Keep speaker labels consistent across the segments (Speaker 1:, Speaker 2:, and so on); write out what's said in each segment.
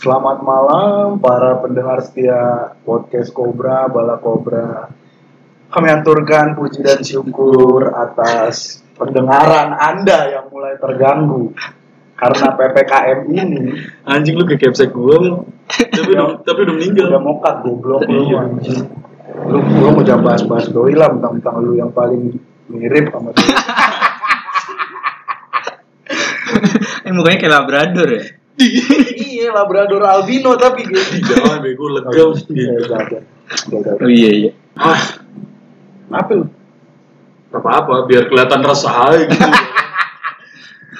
Speaker 1: Selamat malam para pendengar setia podcast Cobra, Bala Cobra. Kami aturkan puji dan syukur atas pendengaran Anda yang mulai terganggu karena PPKM ini
Speaker 2: Anjing lu ke capsek gue Mel. tapi udah, tapi udah meninggal.
Speaker 1: Iya. udah mokat goblok lu.
Speaker 2: Iya.
Speaker 1: anjing. Lu lu mau jangan bahas-bahas doi lah tentang lu yang paling mirip sama doi.
Speaker 3: Ini Eh, mukanya kayak labrador ya.
Speaker 1: iya, Labrador albino tapi gitu.
Speaker 2: Jangan bego lega
Speaker 1: Iya,
Speaker 2: gitu.
Speaker 1: jangan. Jangan.
Speaker 3: Oh iya iya.
Speaker 2: Ah,
Speaker 1: Apa lu?
Speaker 2: apa apa biar kelihatan resah aja gitu.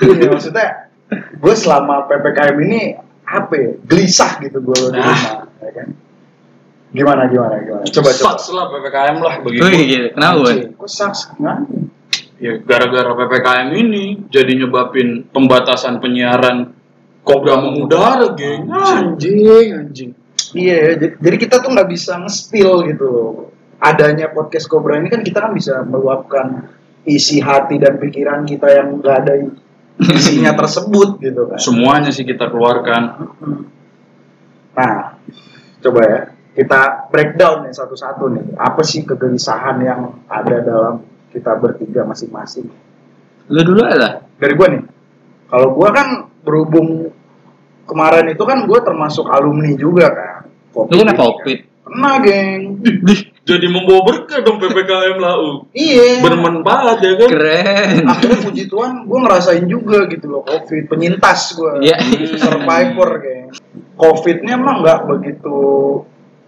Speaker 1: Iya maksudnya gue selama ppkm ini apa ya, gelisah gitu gue di
Speaker 2: Nah.
Speaker 1: rumah ya kan gimana gimana gimana coba coba
Speaker 2: Sucks lah ppkm lah bagi
Speaker 3: Oh iya
Speaker 2: gue.
Speaker 3: gitu. Kenapa? Boy?
Speaker 1: Anjing, kok saks ngapain?
Speaker 2: Ya, gara-gara ppkm ini jadi nyebabin pembatasan penyiaran kobra mengudara geng. Anjing anjing.
Speaker 1: iya ya, j- jadi kita tuh nggak bisa nge-spill gitu loh adanya podcast Cobra ini kan kita kan bisa meluapkan isi hati dan pikiran kita yang nggak ada isinya tersebut gitu kan
Speaker 2: Semuanya sih kita keluarkan.
Speaker 1: Nah, coba ya kita breakdown nih satu-satu nih. Apa sih kegelisahan yang ada dalam kita bertiga masing-masing?
Speaker 3: Lu dulu lah.
Speaker 1: Dari gua nih, kalau gua kan berhubung kemarin itu kan gua termasuk alumni juga kan.
Speaker 3: Lu kena covid.
Speaker 1: Kena geng.
Speaker 2: Jadi membawa berkah dong ppkm lau.
Speaker 1: Iya.
Speaker 2: Bermanfaat ya kan.
Speaker 3: Keren.
Speaker 1: Akhirnya puji Tuhan gua ngerasain juga gitu loh covid. Penyintas gua.
Speaker 3: Iya.
Speaker 1: Survivor geng. Covid-nya emang nggak begitu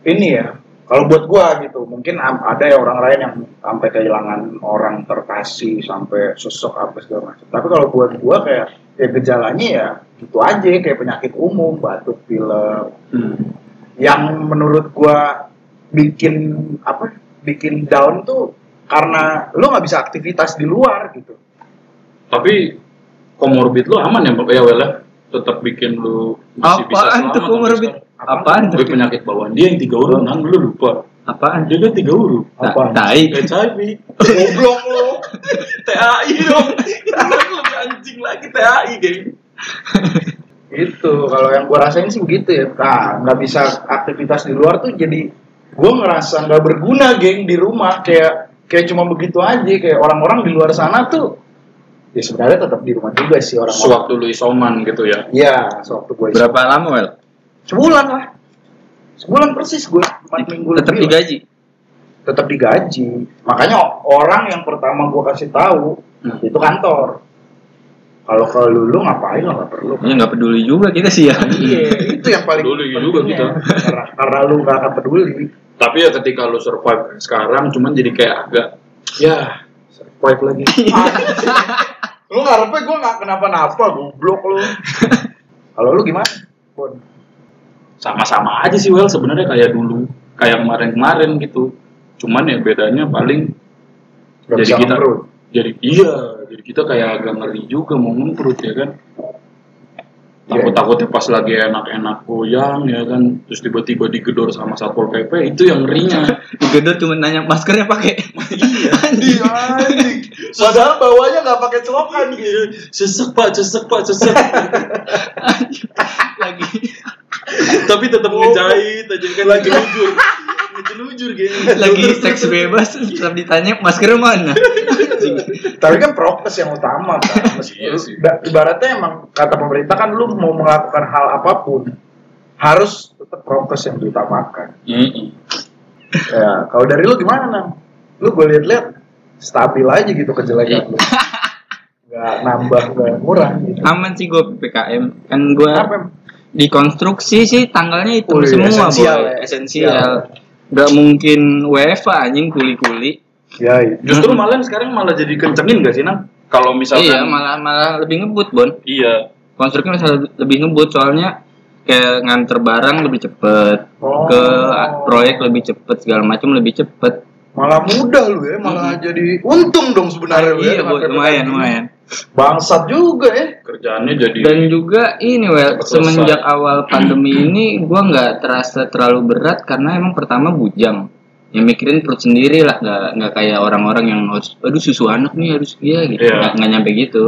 Speaker 1: ini ya. Kalau buat gua gitu, mungkin am- ada ya orang lain yang sampai kehilangan orang terkasih sampai sosok apa segala macam. Tapi kalau buat gua kayak ya gejalanya ya gitu aja kayak penyakit umum, batuk pilek.
Speaker 2: Hmm.
Speaker 1: Yang menurut gua bikin apa? Bikin down tuh karena lu nggak bisa aktivitas di luar gitu.
Speaker 2: Tapi komorbid lu aman ya, Pak? ya Wel ya? Tetap bikin lu masih bisa
Speaker 3: Apaan
Speaker 2: selamat
Speaker 3: tuh komorbid?
Speaker 2: sampai
Speaker 3: Apaan
Speaker 2: sekarang.
Speaker 3: tuh?
Speaker 2: Tapi penyakit bawaan dia yang tiga urunan lu lupa.
Speaker 3: Apaan?
Speaker 2: Dia kan tiga urun.
Speaker 3: Ta-
Speaker 1: Apaan?
Speaker 3: Nah, Tai.
Speaker 2: HIV.
Speaker 1: Goblok lu.
Speaker 2: TAI dong. lebih anjing lagi TAI, geng.
Speaker 1: gitu kalau yang gue rasain sih begitu ya nah nggak bisa aktivitas di luar tuh jadi gue ngerasa nggak berguna geng di rumah kayak kayak cuma begitu aja kayak orang-orang di luar sana tuh ya sebenarnya tetap di rumah juga sih orang-orang
Speaker 2: Sewaktu lu isoman gitu ya.
Speaker 1: Iya, sewaktu gue
Speaker 3: Berapa lama Wel?
Speaker 1: sebulan lah sebulan persis gue empat minggu
Speaker 3: Tetap
Speaker 1: lebih lah.
Speaker 3: digaji.
Speaker 1: tetap digaji makanya o- orang yang pertama gue kasih tahu
Speaker 2: Hmm.
Speaker 1: itu kantor kalau ke lulu ngapain lo nggak perlu
Speaker 3: Ya nggak peduli juga kita sih ya.
Speaker 1: Iya, itu yang paling
Speaker 2: Peduli juga
Speaker 1: pentingnya.
Speaker 2: kita.
Speaker 1: Karena, karena lu gak akan peduli.
Speaker 2: Tapi ya ketika lu survive sekarang, cuman jadi kayak agak, ya, survive lagi.
Speaker 1: lu ngarepnya gue gak kenapa-napa, goblok lu. Kalau lu gimana? Bon.
Speaker 2: Sama-sama aja sih, Well, sebenarnya kayak dulu. Kayak kemarin-kemarin gitu. Cuman ya bedanya paling
Speaker 1: Gak
Speaker 2: jadi
Speaker 1: bisa
Speaker 2: kita
Speaker 1: ngemrut.
Speaker 2: jadi iya jadi kita kayak agak ngeri juga mau ngemprut ya kan takut takutnya pas lagi enak-enak goyang ya kan terus tiba-tiba digedor sama satpol pp itu yang ngerinya
Speaker 3: Digedor cuma nanya maskernya pakai.
Speaker 1: Iya, anjing. Padahal bawahnya gak pakai celokan gitu.
Speaker 2: sesek pak sesek pak sesek
Speaker 3: Lagi.
Speaker 2: tapi tetap
Speaker 1: Oh.
Speaker 2: ngejahit aja kan lagi lujur ngejelujur gitu
Speaker 3: Lagi seks bebas tetap ditanya maskernya mana?
Speaker 1: Tapi kan prokes yang utama kan. Meskipun-
Speaker 2: Iya sih.
Speaker 1: da- Ibaratnya emang kata pemerintah kan lu mau melakukan hal apapun harus tetap prokes yang diutamakan. Ya, kalau dari lu gimana, Nam? Lu gue lihat-lihat stabil aja gitu kejelekan lu. Gak nambah, gak murah gitu.
Speaker 3: Aman sih gue PKM. Kan gue
Speaker 1: Apa? Em?
Speaker 3: di konstruksi sih tanggalnya itu
Speaker 1: Wih,
Speaker 3: semua
Speaker 1: esensial
Speaker 3: boy.
Speaker 1: ya.
Speaker 3: esensial nggak mungkin WFA anjing kuli-kuli
Speaker 1: Ya, iya.
Speaker 2: justru malah sekarang malah jadi kencengin gak sih nang kalau misalkan
Speaker 1: kan?
Speaker 3: iya malah malah lebih ngebut bon
Speaker 2: iya
Speaker 3: konstruksi malah lebih ngebut soalnya kayak nganter barang lebih cepet
Speaker 1: Oh.
Speaker 3: ke proyek lebih cepet segala macam lebih cepet
Speaker 1: Malah mudah lu ya, malah jadi untung dong sebenarnya lu ya.
Speaker 3: Hmm. iya
Speaker 1: dengan
Speaker 3: boy
Speaker 1: PPKM
Speaker 3: lumayan
Speaker 1: ini.
Speaker 3: lumayan
Speaker 1: Bangsat juga ya.
Speaker 2: kerjaannya jadi
Speaker 3: dan juga ini well
Speaker 2: Cepet selesai.
Speaker 3: semenjak awal pandemi ini gua nggak terasa terlalu berat karena emang pertama bujang yang mikirin perut sendiri lah nggak nggak kayak orang-orang yang harus aduh susu anak nih harus iya gitu
Speaker 2: Iya.
Speaker 3: nggak nggak nyampe gitu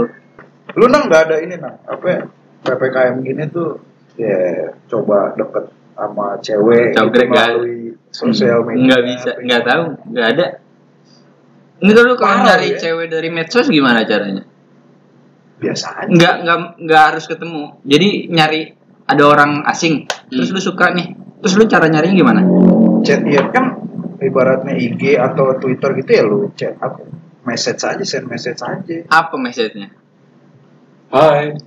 Speaker 1: Lu nang nggak ada ini nang, apa ya? PPKM gini tuh ya coba deket sama cewek gitu
Speaker 3: Cangkrek, kan?
Speaker 1: melalui sosial media
Speaker 3: Hmm, nggak bisa nggak tahu nggak ada ini kalau lu kalau
Speaker 1: Parah,
Speaker 3: nyari
Speaker 1: ya?
Speaker 3: cewek dari medsos gimana caranya
Speaker 1: biasa aja
Speaker 3: nggak nggak nggak harus ketemu jadi nyari ada orang asing terus lu suka nih terus lu cara nyarinya gimana
Speaker 1: chat ya kan ibaratnya IG atau Twitter gitu ya lu chat apa message aja send message aja
Speaker 3: apa message-nya
Speaker 2: Hai.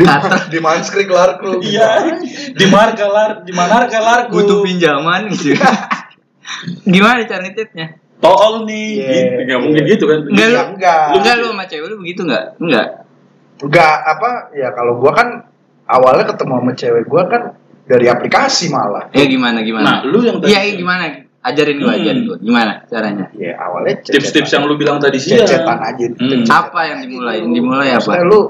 Speaker 1: di,
Speaker 3: Kata-
Speaker 1: di manskrik larku gitu.
Speaker 2: Iya. Di marga lar, di manarga larku.
Speaker 3: butuh pinjaman gitu gimana cara nitipnya
Speaker 2: Tol nih.
Speaker 1: Iya.
Speaker 2: Gitu. Nggak mungkin gitu kan.
Speaker 3: Nggak,
Speaker 1: Iya,
Speaker 3: lu-
Speaker 1: enggak
Speaker 3: enggak lu sama cewek lu begitu enggak enggak
Speaker 1: enggak apa ya kalau gua kan awalnya ketemu sama cewek gua kan dari aplikasi malah
Speaker 3: ya gimana gimana
Speaker 2: Nah, lu yang tadi-
Speaker 3: iya iya, gimana ajarin gua
Speaker 2: Hmm.
Speaker 3: ajarin gua gimana caranya
Speaker 1: ya awalnya chat-
Speaker 2: Tips-tips yang lu bilang tadi sih. ya.
Speaker 1: cecetan aja
Speaker 2: Hmm.
Speaker 1: Cecetan
Speaker 3: apa yang
Speaker 1: aja
Speaker 3: dimulai
Speaker 1: dulu.
Speaker 3: dimulai apa
Speaker 1: Maksudnya lu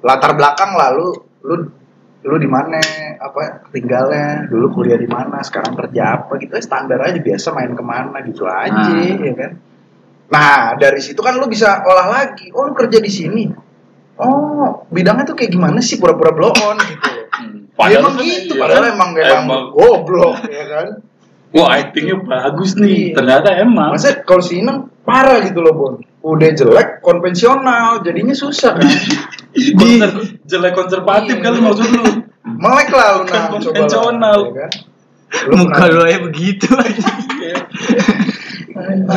Speaker 1: latar belakang lah lu lu lu di mana apa tinggalnya dulu kuliah di mana sekarang kerja apa gitu eh, standar aja biasa main kemana gitu aja
Speaker 3: Ah.
Speaker 1: ya kan nah dari situ kan lu bisa olah lagi oh lu kerja di sini oh bidangnya tuh kayak gimana sih pura-pura blow on gitu loh Ya, emang
Speaker 2: kan-
Speaker 1: gitu,
Speaker 2: iya
Speaker 1: padahal
Speaker 2: kan?
Speaker 1: emang emang goblok ya kan.
Speaker 2: Wah, actingnya bagus nih.
Speaker 1: Iya.
Speaker 2: Ternyata emang.
Speaker 1: Masa kalau si Inang parah gitu loh, Bon. Udah jelek konvensional, jadinya susah kan.
Speaker 2: di jelek konservatif
Speaker 3: Iya.
Speaker 2: kali maksud lu
Speaker 1: melek lah lu nah coba
Speaker 2: Kan konvensional.
Speaker 1: lu, ya kan? Lu
Speaker 3: muka
Speaker 1: pernah- Oh,
Speaker 3: lu aja begitu aja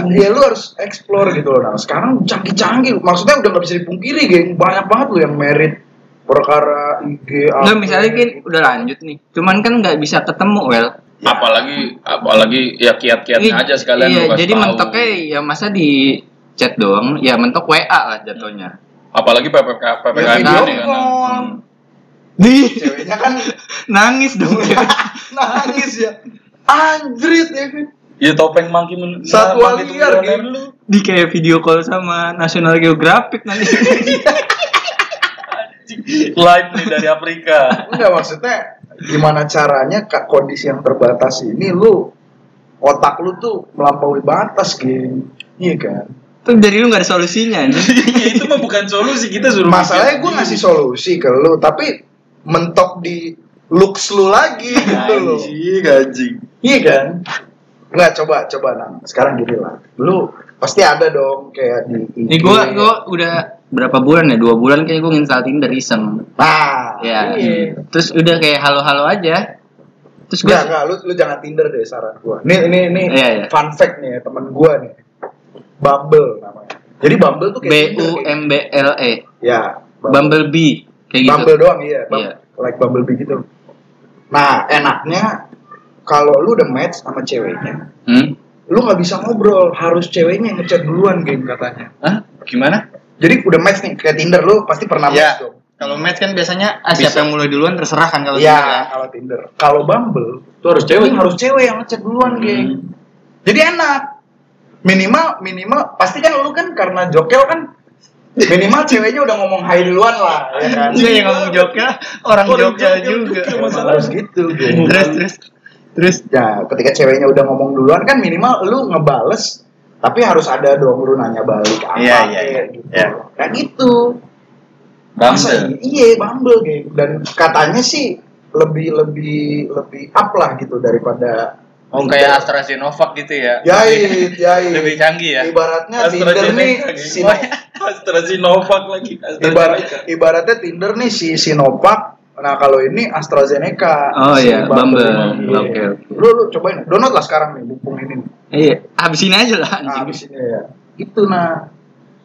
Speaker 1: ya lu harus explore gitu loh nah sekarang canggih-canggih maksudnya udah nggak bisa dipungkiri geng banyak banget lu yang merit perkara IG apa.
Speaker 3: Enggak misalnya kan udah lanjut nih cuman kan nggak bisa ketemu well
Speaker 4: apalagi apalagi ya kiat-kiatnya
Speaker 3: Ini-
Speaker 4: aja sekalian
Speaker 3: iya,
Speaker 4: lu kasih
Speaker 3: jadi
Speaker 4: tahu.
Speaker 3: mentoknya ya masa di chat doang ya mentok WA lah jatuhnya
Speaker 4: apalagi PPK PPK
Speaker 1: Ya, video
Speaker 4: ini kan
Speaker 1: call.
Speaker 4: hmm.
Speaker 3: di
Speaker 1: ceweknya kan
Speaker 3: nangis dong
Speaker 1: nangis ya anjrit ya kan
Speaker 2: ya topeng mangki men- Nah,
Speaker 1: Satwa
Speaker 2: mangki
Speaker 1: liar,
Speaker 2: tunggangan
Speaker 1: geng.
Speaker 2: lu
Speaker 3: di kayak video call sama National Geographic nanti
Speaker 2: live nih dari Afrika
Speaker 1: enggak maksudnya gimana caranya kak kondisi yang terbatas ini lu otak lu tuh melampaui batas geng iya kan
Speaker 3: tuh dari lu nggak ada solusinya anjing.
Speaker 2: ya itu mah bukan solusi kita suruh
Speaker 1: masalahnya gue ngasih solusi ke lu tapi mentok di looks lu lagi gitu loh
Speaker 2: anjing
Speaker 1: iya kan nggak coba coba nang sekarang gini lah lu pasti ada dong kayak di IG.
Speaker 3: Nih gua gua udah berapa bulan ya? Dua bulan kayaknya gua nginstal Tinder iseng.
Speaker 1: nah
Speaker 3: Ya.
Speaker 1: iya
Speaker 3: Terus udah kayak halo-halo aja. Terus gua
Speaker 1: Nggak, nggak, lu, lu jangan Tinder deh saran gua. Nih, ini, ini
Speaker 3: Iya, iya.
Speaker 1: fun fact nih ya, temen gua nih. Bumble namanya. Jadi Bumble tuh
Speaker 3: B
Speaker 1: kayak Tinder.
Speaker 3: U
Speaker 1: kayak-
Speaker 3: M B L E.
Speaker 1: Ya,
Speaker 3: Bumblebee kayak gitu.
Speaker 1: Bumble doang iya, Bum-
Speaker 3: Iya.
Speaker 1: like Bumblebee gitu. Nah, enaknya kalau lu udah match sama ceweknya,
Speaker 3: Hmm?
Speaker 1: lu nggak bisa ngobrol, harus ceweknya yang ngechat duluan geng katanya.
Speaker 4: Hah? gimana
Speaker 1: Jadi udah match nih kayak Tinder lu pasti pernah match dong.
Speaker 5: Kalau match kan biasanya ah, siapa yang mulai duluan terserah kan kalau
Speaker 1: Iya,
Speaker 5: Tinder kan.
Speaker 1: kalau Tinder. Kalau Bumble
Speaker 2: itu harus
Speaker 1: cewek
Speaker 2: cewek
Speaker 1: harus cewek yang ngechat duluan geng jadi enak minimal minimal pasti kan lu kan karena jokel kan minimal ceweknya udah ngomong hai duluan lah ya kan
Speaker 5: Iya yang ngomong jokel, orang, jokel, juga.
Speaker 1: Emang harus gitu geng.
Speaker 5: Terus terus terus
Speaker 1: nah ketika ceweknya udah ngomong duluan kan minimal lu ngebales tapi harus ada dong lu nanya balik apa
Speaker 5: Iya, iya,
Speaker 1: kayak
Speaker 5: iya.
Speaker 1: gitu
Speaker 5: Iya.
Speaker 1: Kayak gitu Masa
Speaker 4: Bumble
Speaker 1: iya Bumble geng dan katanya sih lebih lebih lebih up lah gitu daripada
Speaker 4: oh kayak Astra Zenovac gitu ya
Speaker 1: Yait, yait.
Speaker 4: lebih canggih ya
Speaker 1: Ibaratnya Tinder nih Sino,
Speaker 2: Astra Sinovac lagi AstraZeneca
Speaker 1: ibarat, ibaratnya Tinder nih si Sinovac. Nah, kalau ini AstraZeneca.
Speaker 3: Oh
Speaker 1: si
Speaker 3: iya, Bumble.
Speaker 1: Iya.
Speaker 3: Oke, oke.
Speaker 1: Lu lu cobain. Download lah sekarang nih mumpung ini. nih.
Speaker 3: Iya, habisin aja lah
Speaker 1: Nah,
Speaker 3: anjing.
Speaker 1: habis ini ya. Itu nah.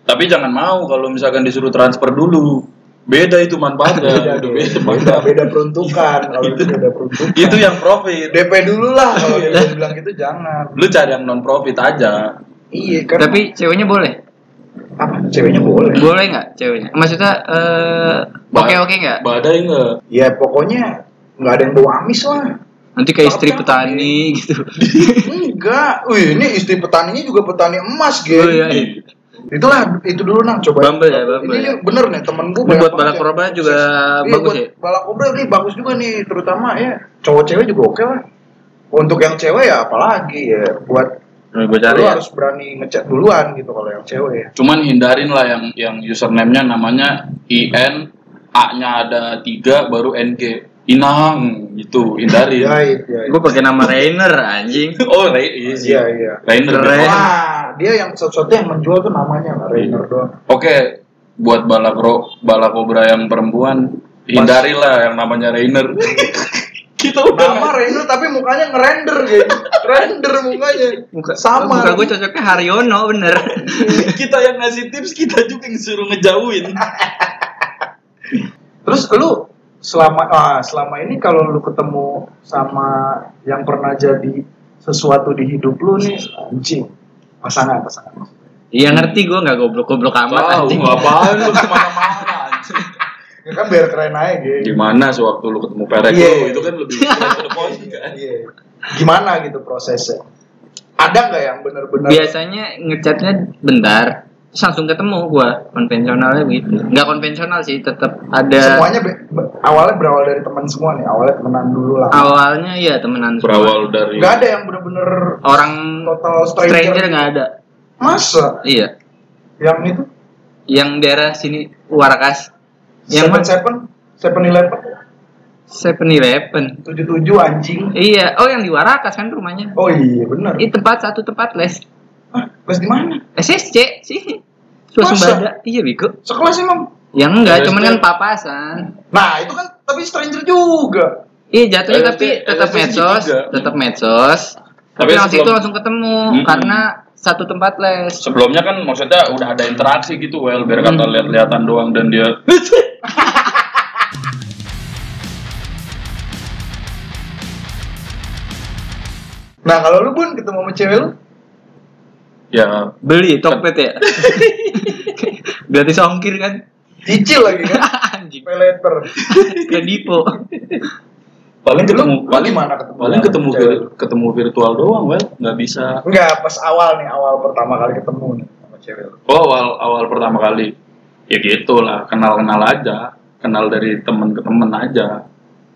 Speaker 2: tapi jangan mau kalau misalkan disuruh transfer dulu beda itu
Speaker 3: Ya,
Speaker 2: manfaatnya
Speaker 1: Beda,
Speaker 2: udah
Speaker 1: beda,
Speaker 2: beda
Speaker 1: beda,
Speaker 2: manfaat.
Speaker 1: beda peruntukan. Kalau itu beda peruntukan.
Speaker 2: itu yang profit
Speaker 1: DP dulu lah kalau
Speaker 3: Iya.
Speaker 1: dia bilang gitu jangan.
Speaker 2: lu cari yang non profit aja
Speaker 1: Iya, kan.
Speaker 3: Tapi ceweknya boleh.
Speaker 1: apa? Ceweknya boleh.
Speaker 3: Boleh nggak ceweknya? Maksudnya eh oke oke nggak?
Speaker 2: badai nggak
Speaker 1: Ya pokoknya nggak ada yang bau amis lah.
Speaker 3: Nanti kayak istri
Speaker 1: Cakep-cakep,
Speaker 3: petani gitu.
Speaker 1: Enggak. Wih, ini istri petaninya juga petani emas, geng.
Speaker 3: Oh iya. iya.
Speaker 1: Itulah itu dulu nang coba.
Speaker 3: Bumble ya, Bumble
Speaker 1: Ini
Speaker 3: ya.
Speaker 1: bener nih temen gue.
Speaker 3: Ini buat balak roba juga bagus ya?
Speaker 1: ya. Iya, Balak roba ini bagus juga nih, terutama ya cowok cewek juga oke lah. Untuk yang cewek ya apalagi ya buat
Speaker 2: iya.
Speaker 3: Gue
Speaker 1: lu
Speaker 3: cari ya.
Speaker 1: harus berani ngechat duluan gitu kalau yang cewek ya.
Speaker 2: cuman hindarin lah yang yang username-nya namanya IN A-nya ada tiga baru NG. Inang gitu,
Speaker 3: Iya.
Speaker 2: hindari.
Speaker 1: Jahit, jahit.
Speaker 3: Gue pakai nama Rainer anjing.
Speaker 2: oh, Ray, iya sih.
Speaker 1: Iya, iya.
Speaker 2: Rainer.
Speaker 3: Rainer.
Speaker 1: Wah, dia yang sesuatu yang menjual tuh namanya lah, Rainer
Speaker 3: Iya.
Speaker 1: doang.
Speaker 2: Oke, buat balakro balakobra yang perempuan, hindarilah yang namanya Rainer. Kita udah
Speaker 1: Nama
Speaker 2: nggak-
Speaker 1: Rainer tapi mukanya ngerender gitu. Render mukanya. sama.
Speaker 3: Muka gue cocoknya Haryono bener.
Speaker 2: kita yang ngasih tips, kita juga yang suruh ngejauhin.
Speaker 1: Terus lu selama ah, selama ini kalau lu ketemu sama yang pernah jadi sesuatu di hidup lu nih anjing pasangan pasangan
Speaker 3: Iya ngerti gue nggak goblok-goblok amat
Speaker 2: Tahu
Speaker 3: anjing.
Speaker 2: ngapain lu kemana-mana anjing.
Speaker 1: ya kan biar keren aja gitu
Speaker 2: Gimana sewaktu lu ketemu perek
Speaker 1: Iya.
Speaker 2: lu itu kan lebih straight to the point kan.
Speaker 1: Iya. gimana gitu prosesnya ada nggak yang bener-bener
Speaker 3: Biasanya ngechatnya bentar, terus langsung ketemu gue konvensionalnya gitu. Nggak konvensional sih, tetap ada.
Speaker 1: semuanya be- be- awalnya berawal dari teman semua nih awalnya temenan dulu lah
Speaker 3: Awalnya ya temenan. semua.
Speaker 2: Berawal dari
Speaker 1: nggak ada yang bener-bener
Speaker 3: Orang
Speaker 1: total stranger,
Speaker 3: stranger nggak ada.
Speaker 1: masa
Speaker 3: Iya.
Speaker 1: yang itu
Speaker 3: Yang daerah sini Warakas. Yang
Speaker 1: seven
Speaker 3: mana?
Speaker 1: seven seven eleven
Speaker 3: Seven Eleven.
Speaker 1: tujuh tujuh anjing
Speaker 3: Iya. Oh yang di Warakas kan rumahnya.
Speaker 1: oh iya bener
Speaker 3: Ini tempat satu tempat les. Eh,
Speaker 1: ah les di mana
Speaker 3: SSC sih.
Speaker 1: Masa?
Speaker 3: Suasembada. Iya bego.
Speaker 1: sekelas emang
Speaker 3: Ya enggak,
Speaker 2: Terus
Speaker 3: cuman
Speaker 2: dia-
Speaker 3: kan papasan.
Speaker 1: Nah itu kan tapi stranger juga.
Speaker 3: Iya jatuhnya
Speaker 2: LSD
Speaker 3: tapi tetap
Speaker 2: LSD
Speaker 3: medsos,
Speaker 2: tiga.
Speaker 3: tetap medsos. Tapi
Speaker 2: Tapi
Speaker 3: langsung itu
Speaker 2: sebelum-
Speaker 3: langsung ketemu
Speaker 2: Mm-mm.
Speaker 3: karena satu tempat les.
Speaker 2: sebelumnya kan maksudnya udah ada interaksi gitu well biar kata
Speaker 3: Hmm.
Speaker 2: lihat-lihatan doang dan dia
Speaker 1: Nah kalau lu bun ketemu sama cewek lu,
Speaker 2: ya
Speaker 3: Beli Tokped ya. Gratis ongkir kan.
Speaker 1: cicil lagi kan,
Speaker 3: Anjing.
Speaker 1: pay later.
Speaker 3: Kredipo.
Speaker 2: paling
Speaker 1: Lu-
Speaker 2: ketemu
Speaker 1: lu
Speaker 2: paling
Speaker 1: gimana ketemu
Speaker 2: paling
Speaker 1: sama
Speaker 2: ketemu
Speaker 1: cewek?
Speaker 2: vir- ketemu virtual doang well nggak bisa
Speaker 1: Enggak pas awal nih awal pertama kali ketemu nih sama cewek lu.
Speaker 2: oh awal awal pertama kali ya gitulah kenal kenal aja kenal dari temen ke temen aja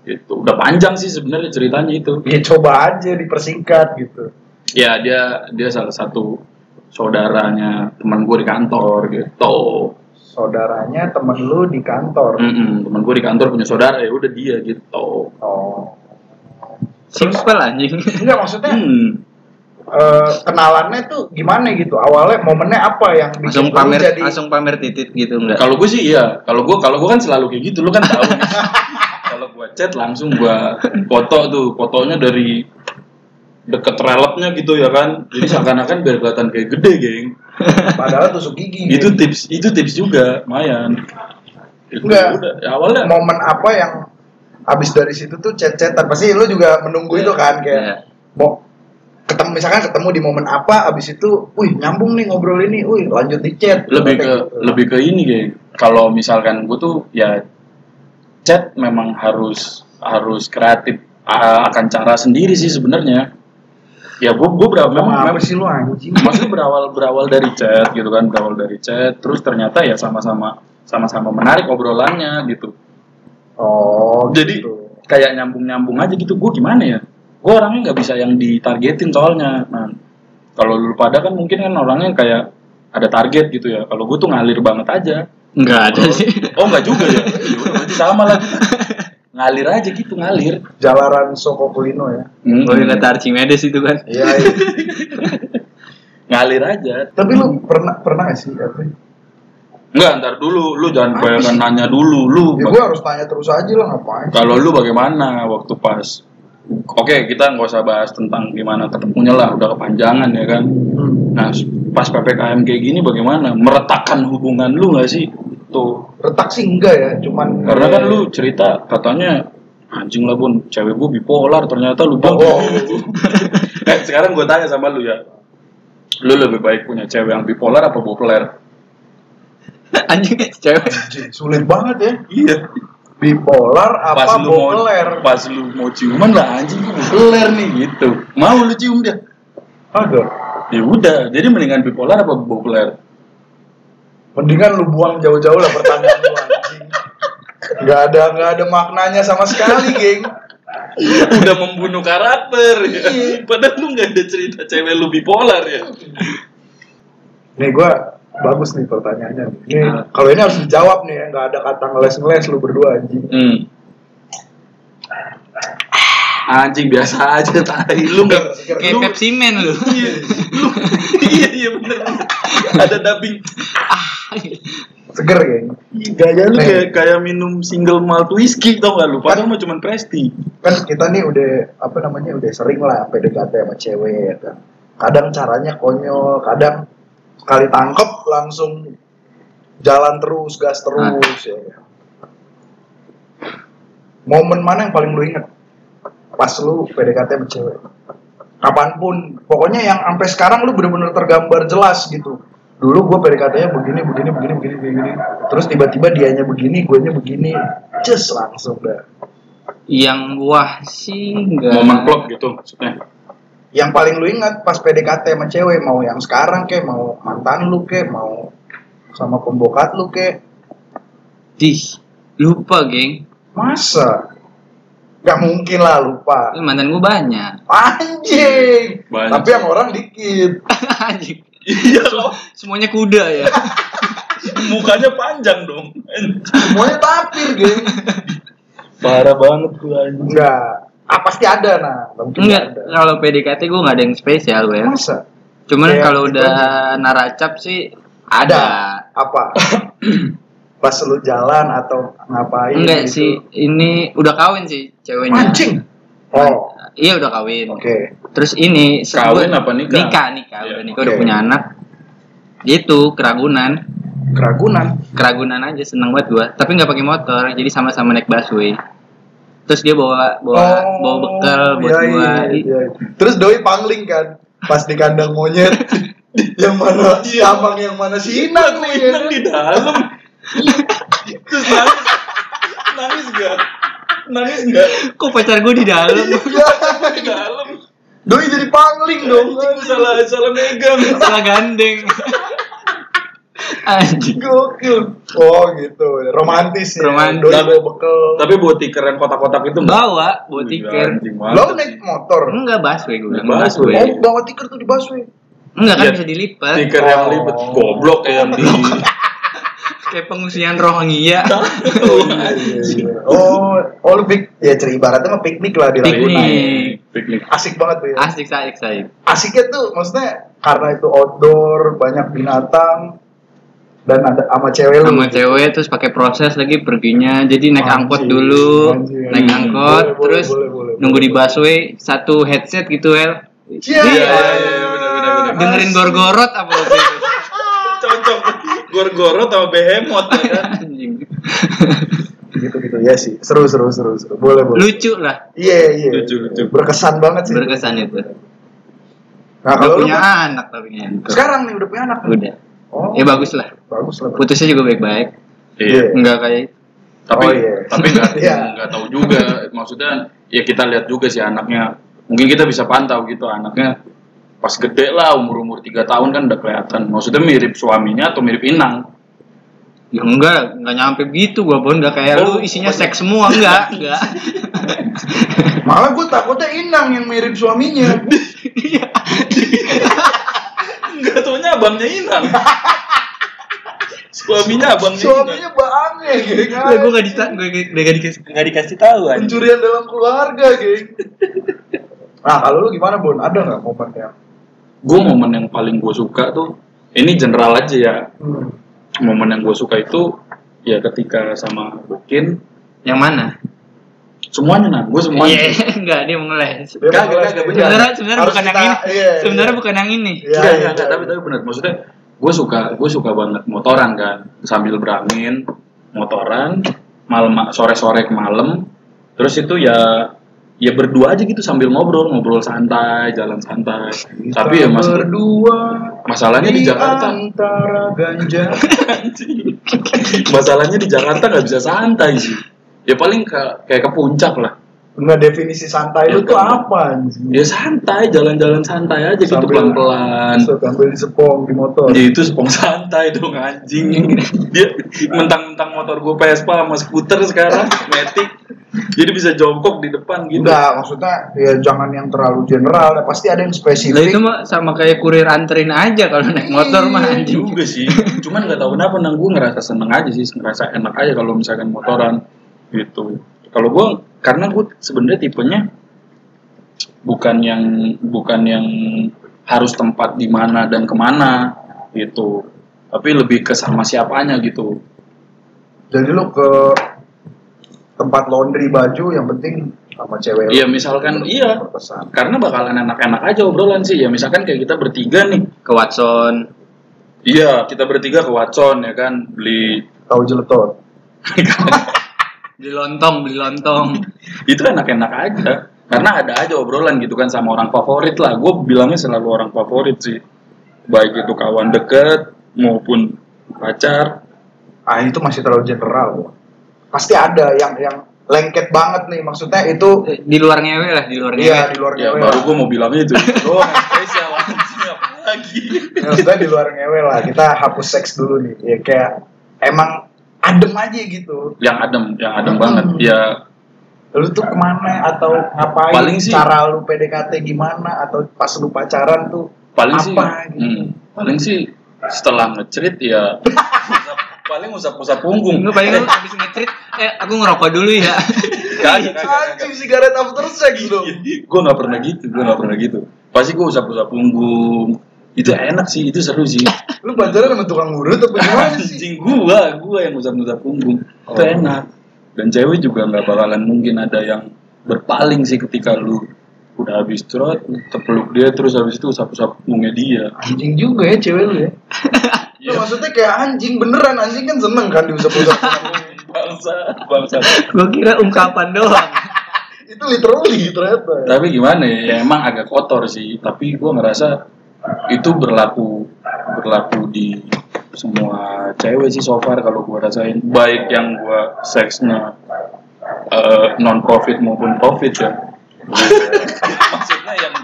Speaker 2: gitu udah panjang sih sebenarnya ceritanya itu
Speaker 1: Ya coba aja dipersingkat gitu.
Speaker 2: ya dia dia salah satu saudaranya teman gue di kantor gitu
Speaker 1: Saudaranya temen lu di
Speaker 3: Hmm.
Speaker 1: kantor.
Speaker 2: Mm-mm, teman gue di kantor punya saudara ya udah dia gitu
Speaker 1: Oh.
Speaker 3: Simpel anjing.
Speaker 1: Enggak maksudnya
Speaker 2: Hmm.
Speaker 1: eh, kenalannya tuh gimana gitu? Awalnya momennya apa yang bikin
Speaker 3: Langsung
Speaker 1: lu
Speaker 3: pamer
Speaker 1: jadi
Speaker 3: langsung pamer titit gitu enggak.
Speaker 2: Kalau gue sih iya. Kalau gue kalau gue kan selalu kayak gitu, lu kan tahu. nih. kalau gue chat langsung gue foto tuh, fotonya dari deket relepnya gitu ya kan. Jadi seakan-akan biar kelihatan kayak gede, geng.
Speaker 1: padahal tusuk gigi.
Speaker 2: Itu
Speaker 1: gitu.
Speaker 2: tips, itu tips juga, lumayan. Itu
Speaker 1: Enggak.
Speaker 2: udah ya, awalnya
Speaker 1: Momen apa yang abis dari situ tuh chat-chatan pasti lu juga menunggu itu kan kayak
Speaker 3: Iya.
Speaker 1: mau ketemu misalkan ketemu di momen apa abis itu wih nyambung nih ngobrol ini wih lanjut di chat
Speaker 2: lebih
Speaker 1: Kayak
Speaker 2: ke
Speaker 1: gitu.
Speaker 2: lebih ke ini, geng. Kalau misalkan gue tuh ya chat memang harus harus kreatif a- akan cara sendiri sih sebenarnya. Ya gue gue berapa
Speaker 1: Emang
Speaker 2: memang
Speaker 1: apa sih lu anjing
Speaker 2: maksudnya berawal berawal dari chat gitu kan berawal dari chat terus ternyata ya sama-sama sama-sama menarik obrolannya gitu
Speaker 1: oh
Speaker 2: jadi kayak nyambung nyambung aja gitu gue gimana ya gue orangnya nggak bisa yang ditargetin soalnya nah kalau lu pada kan mungkin kan orangnya kayak ada target gitu ya kalau gue tuh ngalir banget aja
Speaker 3: Enggak ada sih.
Speaker 2: oh nggak juga ya Ya udah, berarti sama lah kita. ngalir aja gitu ngalir Hmm.
Speaker 1: jalaran Soko Kulino ya
Speaker 3: Gue kata Archimedes itu kan.
Speaker 1: iya
Speaker 2: ngalir aja
Speaker 1: tapi lu pernah pernah gak sih Ya, Elvin?
Speaker 2: nggak ntar dulu lu jangan
Speaker 1: Apa
Speaker 2: kayak
Speaker 1: sih?
Speaker 2: nanya dulu lu
Speaker 1: ya gua harus tanya terus aja lah ngapain
Speaker 2: Kalau lu bagaimana waktu pas? Oke, kita nggak usah bahas tentang gimana ketemunya lah, udah kepanjangan ya kan.
Speaker 1: Hmm.
Speaker 2: Nah, pas PPKM kayak gini bagaimana? Meretakkan hubungan lu nggak sih? Tuh,
Speaker 1: retak sih enggak ya cuman
Speaker 2: karena kan lu cerita katanya anjing lah bun, cewek gua bipolar ternyata lu
Speaker 1: oh,
Speaker 2: bohong. Eh, sekarang gua tanya sama lu ya. Lu lebih baik punya cewek yang bipolar apa bipolar?
Speaker 3: Anjing cewek.
Speaker 1: anjing, sulit banget ya
Speaker 2: Iya.
Speaker 1: bipolar
Speaker 2: Pas
Speaker 1: apa
Speaker 2: lu mau
Speaker 1: bokeler
Speaker 2: pas lu mau ciuman lah anjing bipolar nih gitu. Mau lu cium dia?
Speaker 1: aduh
Speaker 2: ya udah jadi mendingan bipolar apa bipolar
Speaker 1: mendingan lu buang jauh-jauh lah pertanyaan lu anjing nggak ada nggak ada maknanya sama sekali geng
Speaker 2: udah membunuh karakter ya. padahal lu nggak ada cerita cewek lu bipolar ya
Speaker 1: Nih gua bagus nih pertanyaannya. nih. Ini
Speaker 3: Nah.
Speaker 1: kalau ini harus dijawab nih ya, nggak ada kata ngeles-ngeles lu berdua anjing.
Speaker 3: Hmm.
Speaker 2: Anjing biasa aja tai lu nggak
Speaker 3: Kayak
Speaker 2: lu
Speaker 3: Pepsi Man lu.
Speaker 2: iya iya bener ada dubbing
Speaker 1: Seger kayaknya.
Speaker 2: gaya lu kayak kayak minum single malt whiskey tau gak lu padahal mah cuman presti
Speaker 1: Kan kita nih udah apa namanya udah sering lah PDKT sama cewek ya kan. Kadang caranya konyol, kadang sekali tangkep langsung jalan terus, gas terus ya. kan. Momen mana yang paling lu inget? Pas lu PDKT sama cewek. Kapanpun, pokoknya yang sampai sekarang lu bener-bener tergambar jelas gitu. Dulu gue PDKT-nya begini, begini, begini, begini, begini. Terus tiba-tiba dianya begini, guanya begini. Just langsung dah.
Speaker 3: Yang wah sih enggak.
Speaker 2: momen klop gitu maksudnya
Speaker 1: yang paling lu ingat pas PDKT sama cewek mau yang sekarang kek mau mantan lu kek mau sama pembokat lu kek
Speaker 3: Dih, lupa, geng.
Speaker 1: masa gak mungkin lah lupa
Speaker 3: Eh, Mantan gue banyak.
Speaker 1: anjing
Speaker 2: Banyak.
Speaker 1: tapi yang orang dikit
Speaker 3: Anjing.
Speaker 2: iya loh
Speaker 3: Semuanya kuda ya.
Speaker 2: mukanya panjang dong
Speaker 1: semuanya tapir geng
Speaker 2: parah banget gua anjing
Speaker 1: enggak ah pasti ada nah Nggak mungkin nggak
Speaker 3: Enggak, kalau PDKT gue nggak ada yang spesial,
Speaker 1: ada
Speaker 3: ya.
Speaker 1: masa
Speaker 3: Cuman
Speaker 1: Kayak
Speaker 3: kalau
Speaker 1: gitu
Speaker 3: udah naracap sih ada.
Speaker 1: apa pas lu jalan atau ngapain
Speaker 3: Enggak
Speaker 1: gitu.
Speaker 3: sih, ini udah kawin sih ceweknya.
Speaker 1: anjing oh
Speaker 3: Iya udah kawin.
Speaker 1: oke
Speaker 3: Terus ini
Speaker 2: Kawin
Speaker 3: sebut-
Speaker 2: apa nikah?
Speaker 3: Nikah, nikah.
Speaker 2: Iya,
Speaker 3: udah nikah
Speaker 1: oke.
Speaker 3: udah punya anak. Gitu, keragunan.
Speaker 1: keragunan
Speaker 3: Keragunan aja seneng banget gua, tapi nggak pakai motor, jadi sama-sama naik busway. Terus dia bawa bawa bawa bekal buat
Speaker 1: Oh, iya,
Speaker 3: gua.
Speaker 1: iya, iya. Terus doi pangling kan pas di kandang monyet. yang mana si abang yang mana si Inang nih. ya
Speaker 2: Inang
Speaker 1: kan?
Speaker 2: di dalam terus nangis nangis gak nangis gak
Speaker 3: Kok pacar gua di dalam?
Speaker 1: Iya.
Speaker 2: di dalam
Speaker 1: doi jadi pangling dong.
Speaker 2: Anjing, salah salah megang
Speaker 3: Salah gandeng. Anjing.
Speaker 1: Gokil. Oh gitu. Romantis ya.
Speaker 3: Romantis.
Speaker 1: Doi bawa bekal.
Speaker 2: tapi buat tikeran kotak-kotak itu
Speaker 1: Nah,
Speaker 2: nggak?
Speaker 3: Bawa bawa
Speaker 2: Wih,
Speaker 3: tiket.
Speaker 2: anjing,
Speaker 1: Lo
Speaker 2: mantep.
Speaker 1: naik motor.
Speaker 3: Enggak busway gua. bilang,
Speaker 2: Busway.
Speaker 1: Oh, bawa tiker tuh di busway.
Speaker 3: Enggak kan
Speaker 2: Iya.
Speaker 3: bisa dilipat.
Speaker 2: Stiker yang libet goblok ya, yang di
Speaker 3: Kayak pengusian rohingya.
Speaker 1: Oh, oh lu pik- ya cerita ibaratnya mah piknik lah di Ragunan.
Speaker 3: Piknik.
Speaker 2: piknik.
Speaker 1: Asik banget tuh ya.
Speaker 3: Asik saik saik.
Speaker 1: asiknya tuh maksudnya karena itu outdoor banyak binatang dan ada sama cewek lu
Speaker 3: Sama cewek terus pakai proses lagi perginya. Jadi naik
Speaker 1: Anjing,
Speaker 3: angkot dulu,
Speaker 1: anjing.
Speaker 3: naik
Speaker 1: Hmm.
Speaker 3: angkot
Speaker 1: Boleh, boleh,
Speaker 3: terus
Speaker 1: boleh, boleh,
Speaker 3: nunggu
Speaker 1: boleh.
Speaker 3: di busway satu headset gitu El.
Speaker 1: Iya,
Speaker 3: Iya,
Speaker 2: iya, benar, benar, benar.
Speaker 3: Dengerin gorgorot apa waktu itu?
Speaker 2: Cocok gorgorot sama behemoth ya kan.
Speaker 3: Anjing.
Speaker 1: gitu gitu ya sih seru seru seru seru boleh boleh
Speaker 3: Lucu lah
Speaker 1: iya iya
Speaker 2: Lucu, lucu.
Speaker 1: berkesan banget sih
Speaker 3: berkesan itu.
Speaker 1: nah
Speaker 3: Udah
Speaker 1: kalau lu
Speaker 3: punya
Speaker 1: kan
Speaker 3: anak tapi ya.
Speaker 1: sekarang nih udah punya anak
Speaker 3: udah.
Speaker 1: oh
Speaker 3: Ya bagus lah.
Speaker 1: bagus lah
Speaker 3: Putusnya juga baik-baik.
Speaker 1: Iya.
Speaker 3: Enggak kayak
Speaker 2: Tapi
Speaker 1: Oh, iya.
Speaker 2: tapi nggak
Speaker 1: Iya.
Speaker 2: nggak tahu juga maksudnya ya kita lihat juga sih anaknya. Mungkin kita bisa pantau gitu anaknya pas gede lah umur umur tiga tahun kan udah kelihatan. Maksudnya mirip suaminya atau mirip Inang?
Speaker 3: Ya enggak, enggak nyampe gitu gua pun enggak kayak
Speaker 2: Oh,
Speaker 3: lu isinya seks semua enggak, enggak.
Speaker 1: malah gue takutnya inang yang mirip suaminya
Speaker 2: Enggak taunya abangnya Inang. suaminya abangnya Inang.
Speaker 1: suaminya baangnya geng
Speaker 3: Lah Iya, gua enggak dita gua gua enggak dikasih enggak dikasih tahu anjing.
Speaker 1: pencurian dalam keluarga geng nah kalau lu gimana bun ada nggak momen yang
Speaker 2: Gue momen yang paling gue suka tuh ini general aja ya
Speaker 1: hmm.
Speaker 2: momen yang gue suka itu ya ketika sama Bukin
Speaker 3: Yang mana?
Speaker 2: semuanya nah gue semuanya
Speaker 3: Iya, enggak dia mau ngeles.
Speaker 1: Dia
Speaker 2: Kagak,
Speaker 1: mau ngeles,
Speaker 2: kagak,
Speaker 1: geng.
Speaker 2: bener.
Speaker 3: Sebenarnya
Speaker 1: Iya.
Speaker 3: sebenarnya
Speaker 1: Harus
Speaker 3: bukan yang
Speaker 1: kita- iya,
Speaker 3: ini.
Speaker 1: iya.
Speaker 3: Sebenarnya bukan yang ini.
Speaker 1: Iya,
Speaker 2: Enggak,
Speaker 1: iya,
Speaker 2: enggak, enggak,
Speaker 1: iya.
Speaker 2: tapi tapi benar. Maksudnya gue suka gue suka banget motoran kan, sambil berangin, motoran, malam sore-sore ke malam. Terus itu ya ya berdua aja gitu sambil ngobrol, ngobrol santai, jalan santai. tapi ya mas
Speaker 1: berdua
Speaker 2: masalahnya di Jakarta.
Speaker 1: antara ganja Iya.
Speaker 2: masalahnya di Jakarta nggak bisa santai sih. Ya paling ke, kayak ke puncak lah.
Speaker 1: nggak definisi santai lu
Speaker 2: Ya,
Speaker 1: tuh
Speaker 2: kan.
Speaker 1: apa anjing
Speaker 2: Ya santai, jalan-jalan santai aja gitu
Speaker 1: Sambil-
Speaker 2: pelan-pelan.
Speaker 1: So, sambil disepong di motor
Speaker 2: Ya itu spong santai dong anjing. Dia mentang-mentang motor gue Vespa sama skuter sekarang, Matic. Jadi bisa jongkok di depan gitu.
Speaker 1: Enggak, maksudnya ya jangan yang terlalu general, ya pasti ada yang
Speaker 3: Lah
Speaker 1: spesifik.
Speaker 3: itu mah sama kayak kurir anterin aja kalau naik
Speaker 1: Iya,
Speaker 3: motor mah anjing.
Speaker 2: Iya juga sih. Cuman nggak tahu kenapa nang gue ngerasa seneng aja sih, ngerasa enak aja kalau misalkan motoran gitu. Kalau gue karena gue sebenarnya tipenya bukan yang bukan yang harus tempat di mana dan kemana gitu. Tapi lebih ke sama siapanya gitu.
Speaker 1: Jadi lu ke tempat laundry baju yang penting sama cewek. lu
Speaker 2: Iya misalkan iya
Speaker 1: berpesan.
Speaker 2: karena bakalan enak-enak aja obrolan sih ya misalkan kayak kita bertiga nih
Speaker 3: Ke Watson.
Speaker 2: iya kita bertiga ke Watson ya kan beli
Speaker 1: Tahu jeletot.
Speaker 3: Beli lontong, beli lontong.
Speaker 2: itu enak-enak aja karena ada aja obrolan gitu kan sama orang favorit lah gue bilangnya selalu orang favorit sih baik itu kawan deket maupun pacar
Speaker 1: Ah itu masih terlalu general. Pasti ada yang yang lengket banget nih maksudnya itu
Speaker 3: Di luar ngewe lah, di luar ngewe.
Speaker 1: iya Oh, eh, di luar
Speaker 2: ya
Speaker 1: ngewe.
Speaker 2: baru
Speaker 1: lah.
Speaker 2: gue mau bilangnya itu itu doang yang spesial anjing, apa lagi
Speaker 1: Ya, maksudnya di luar ngewe lah. Kita hapus seks dulu nih. Ya kayak emang adem aja gitu.
Speaker 2: yang adem yang adem banget
Speaker 1: Hmm.
Speaker 2: ya
Speaker 1: Lu tuh kemana atau ngapain?
Speaker 2: Paling sih-
Speaker 1: Cara lu PDKT gimana atau pas lu pacaran tuh
Speaker 2: paling
Speaker 1: apa
Speaker 2: sih
Speaker 1: gitu.
Speaker 2: hmm, paling sih setelah ngecerit ya usap- paling usap-usap punggung
Speaker 3: Enggak paling lu habis ngetrit, eh aku ngerokok dulu ya.
Speaker 1: Iya,
Speaker 2: Kagak, kagak,
Speaker 1: Anjing sigaret after sex dong.
Speaker 2: gue Kan? nggak pernah gitu gue nggak pernah gitu pasti gue usap usap punggung itu enak sih itu seru sih
Speaker 1: Lu pacaran sama tukang urut apa gimana sih?
Speaker 2: anjing gue gue yang usap usap punggung
Speaker 1: Oh.
Speaker 2: itu enak dan cewek juga nggak bakalan mungkin ada yang berpaling sih ketika lu udah habis cerot lu tepeluk dia terus habis itu usap usap punggungnya dia
Speaker 1: Anjing juga ya cewek lu ya.
Speaker 2: Iya.
Speaker 1: Lu maksudnya kayak anjing beneran anjing kan seneng kan diusap-usap.
Speaker 2: bangsa bangsa
Speaker 3: Gua kira ungkapan doang.
Speaker 1: itu literally ternyata.
Speaker 2: tapi gimana ya ya emang agak kotor sih tapi gue ngerasa itu berlaku berlaku di semua cewek sih so far kalau gue rasain baik yang gue seksnya non profit maupun profit ya maksudnya yang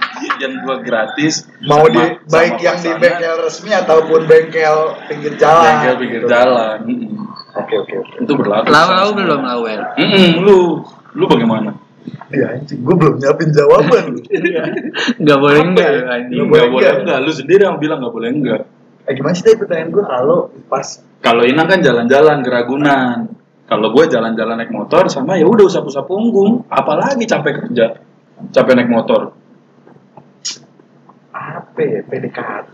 Speaker 2: yang gue gratis
Speaker 1: Mau di
Speaker 2: sama- sama
Speaker 1: baik yang di ya? Ah,
Speaker 2: pasangan,
Speaker 1: bengkel resmi ataupun bengkel pinggir jalan.
Speaker 2: bengkel
Speaker 1: gitu.
Speaker 2: pinggir jalan Mm-mm.
Speaker 1: Oke oke oke.
Speaker 2: itu berlaku
Speaker 3: Lau-lau belum lawel.
Speaker 2: Mm-mm, lu lu bagaimana
Speaker 1: Iya anjing, gue belum nyiapin jawaban lu.
Speaker 3: Gak boleh
Speaker 1: Apa
Speaker 3: enggak
Speaker 1: ya?
Speaker 3: lu anjing.
Speaker 1: Nggak
Speaker 2: nggak
Speaker 1: boleh
Speaker 2: boleh enggak.
Speaker 1: enggak.
Speaker 2: lu sendiri yang bilang nggak boleh enggak
Speaker 1: eh gimana sih tadi pertanyaan gue kalau pas
Speaker 2: Kalau Inang kan jalan-jalan ke Ragunan. Kalau gue jalan-jalan naik motor sama ya udah usap-usap punggung. Apalagi capek kerja, capek naik motor.
Speaker 1: apa ya PDKT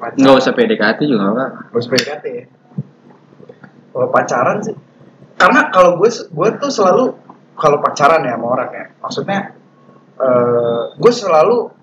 Speaker 1: pacaran.
Speaker 3: Enggak usah PDKT juga apa.
Speaker 1: Harus PDKT ya. Kalau pacaran sih, karena kalau gue gue tuh selalu kalau pacaran ya sama orang ya, maksudnya eh gue selalu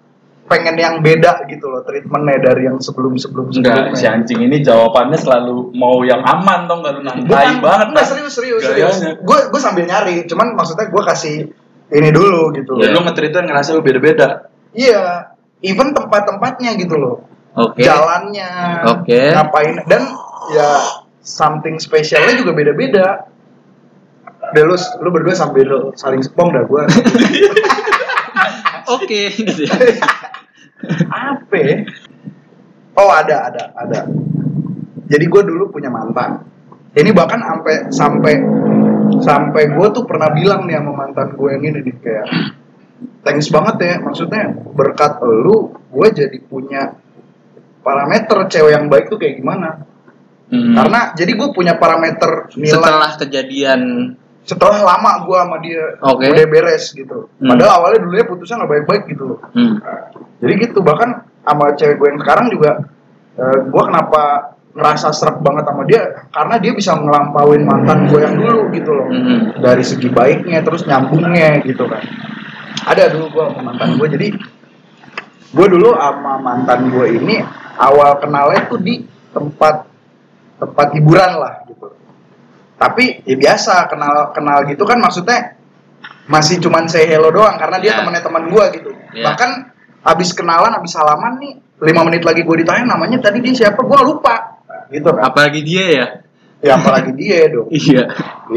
Speaker 1: pengen yang beda gitu loh treatmentnya dari yang sebelum sebelum sebelumnya.
Speaker 2: Enggak, si anjing ini jawabannya selalu mau yang aman dong kalau nang
Speaker 1: Bukan,
Speaker 2: Tai banget.
Speaker 1: kan- enggak
Speaker 2: Nang.
Speaker 1: serius serius
Speaker 2: Gayanya.
Speaker 1: serius. Gue gue sambil nyari, cuman maksudnya gue kasih ini dulu gitu.
Speaker 2: Ya lu
Speaker 1: loh.
Speaker 2: ngetrituan ngerasa lu beda-beda.
Speaker 1: Iya, even tempat-tempatnya gitu loh.
Speaker 3: Oke.
Speaker 1: jalannya,
Speaker 3: Oke.
Speaker 1: ngapain dan ya something spesialnya juga beda-beda. Udah lu, lu berdua sambil saling sepong dah gua.
Speaker 3: Oke gitu ya.
Speaker 1: Apa? ya? Oh ada ada ada. Jadi gua dulu punya mantan. Ini bahkan sampai sampai sampai gua tuh pernah bilang nih sama mantan gue yang ini nih kayak thanks banget ya maksudnya berkat lu gue jadi punya parameter cewek yang baik tuh kayak gimana
Speaker 2: Hmm.
Speaker 1: karena jadi gue punya parameter nilai setelah,
Speaker 3: Setelah kejadian
Speaker 1: lama gue sama dia
Speaker 3: Oke.
Speaker 1: udah beres gitu
Speaker 3: Hmm.
Speaker 1: padahal awalnya dulunya putusnya nggak baik-baik gitu loh
Speaker 3: hmm.
Speaker 1: jadi gitu bahkan sama cewek gue yang sekarang juga gue kenapa ngerasa serak banget sama dia karena dia bisa ngelampauin mantan gue yang dulu gitu loh
Speaker 3: Hmm.
Speaker 1: dari segi baiknya terus nyambungnya gitu kan ada dulu gue sama mantan gue jadi gue dulu sama mantan gue ini awal kenalnya tuh di tempat tempat hiburan lah gitu tapi ya biasa kenal kenal gitu kan maksudnya masih cuman say hello doang karena dia
Speaker 3: Ya.
Speaker 1: temannya teman gue gitu
Speaker 3: Ya.
Speaker 1: bahkan abis kenalan abis salaman nih lima menit lagi gue ditanya namanya tadi dia siapa gue lupa gitu kan
Speaker 3: Apalagi dia ya?
Speaker 1: ya apalagi dia dong
Speaker 3: Iya.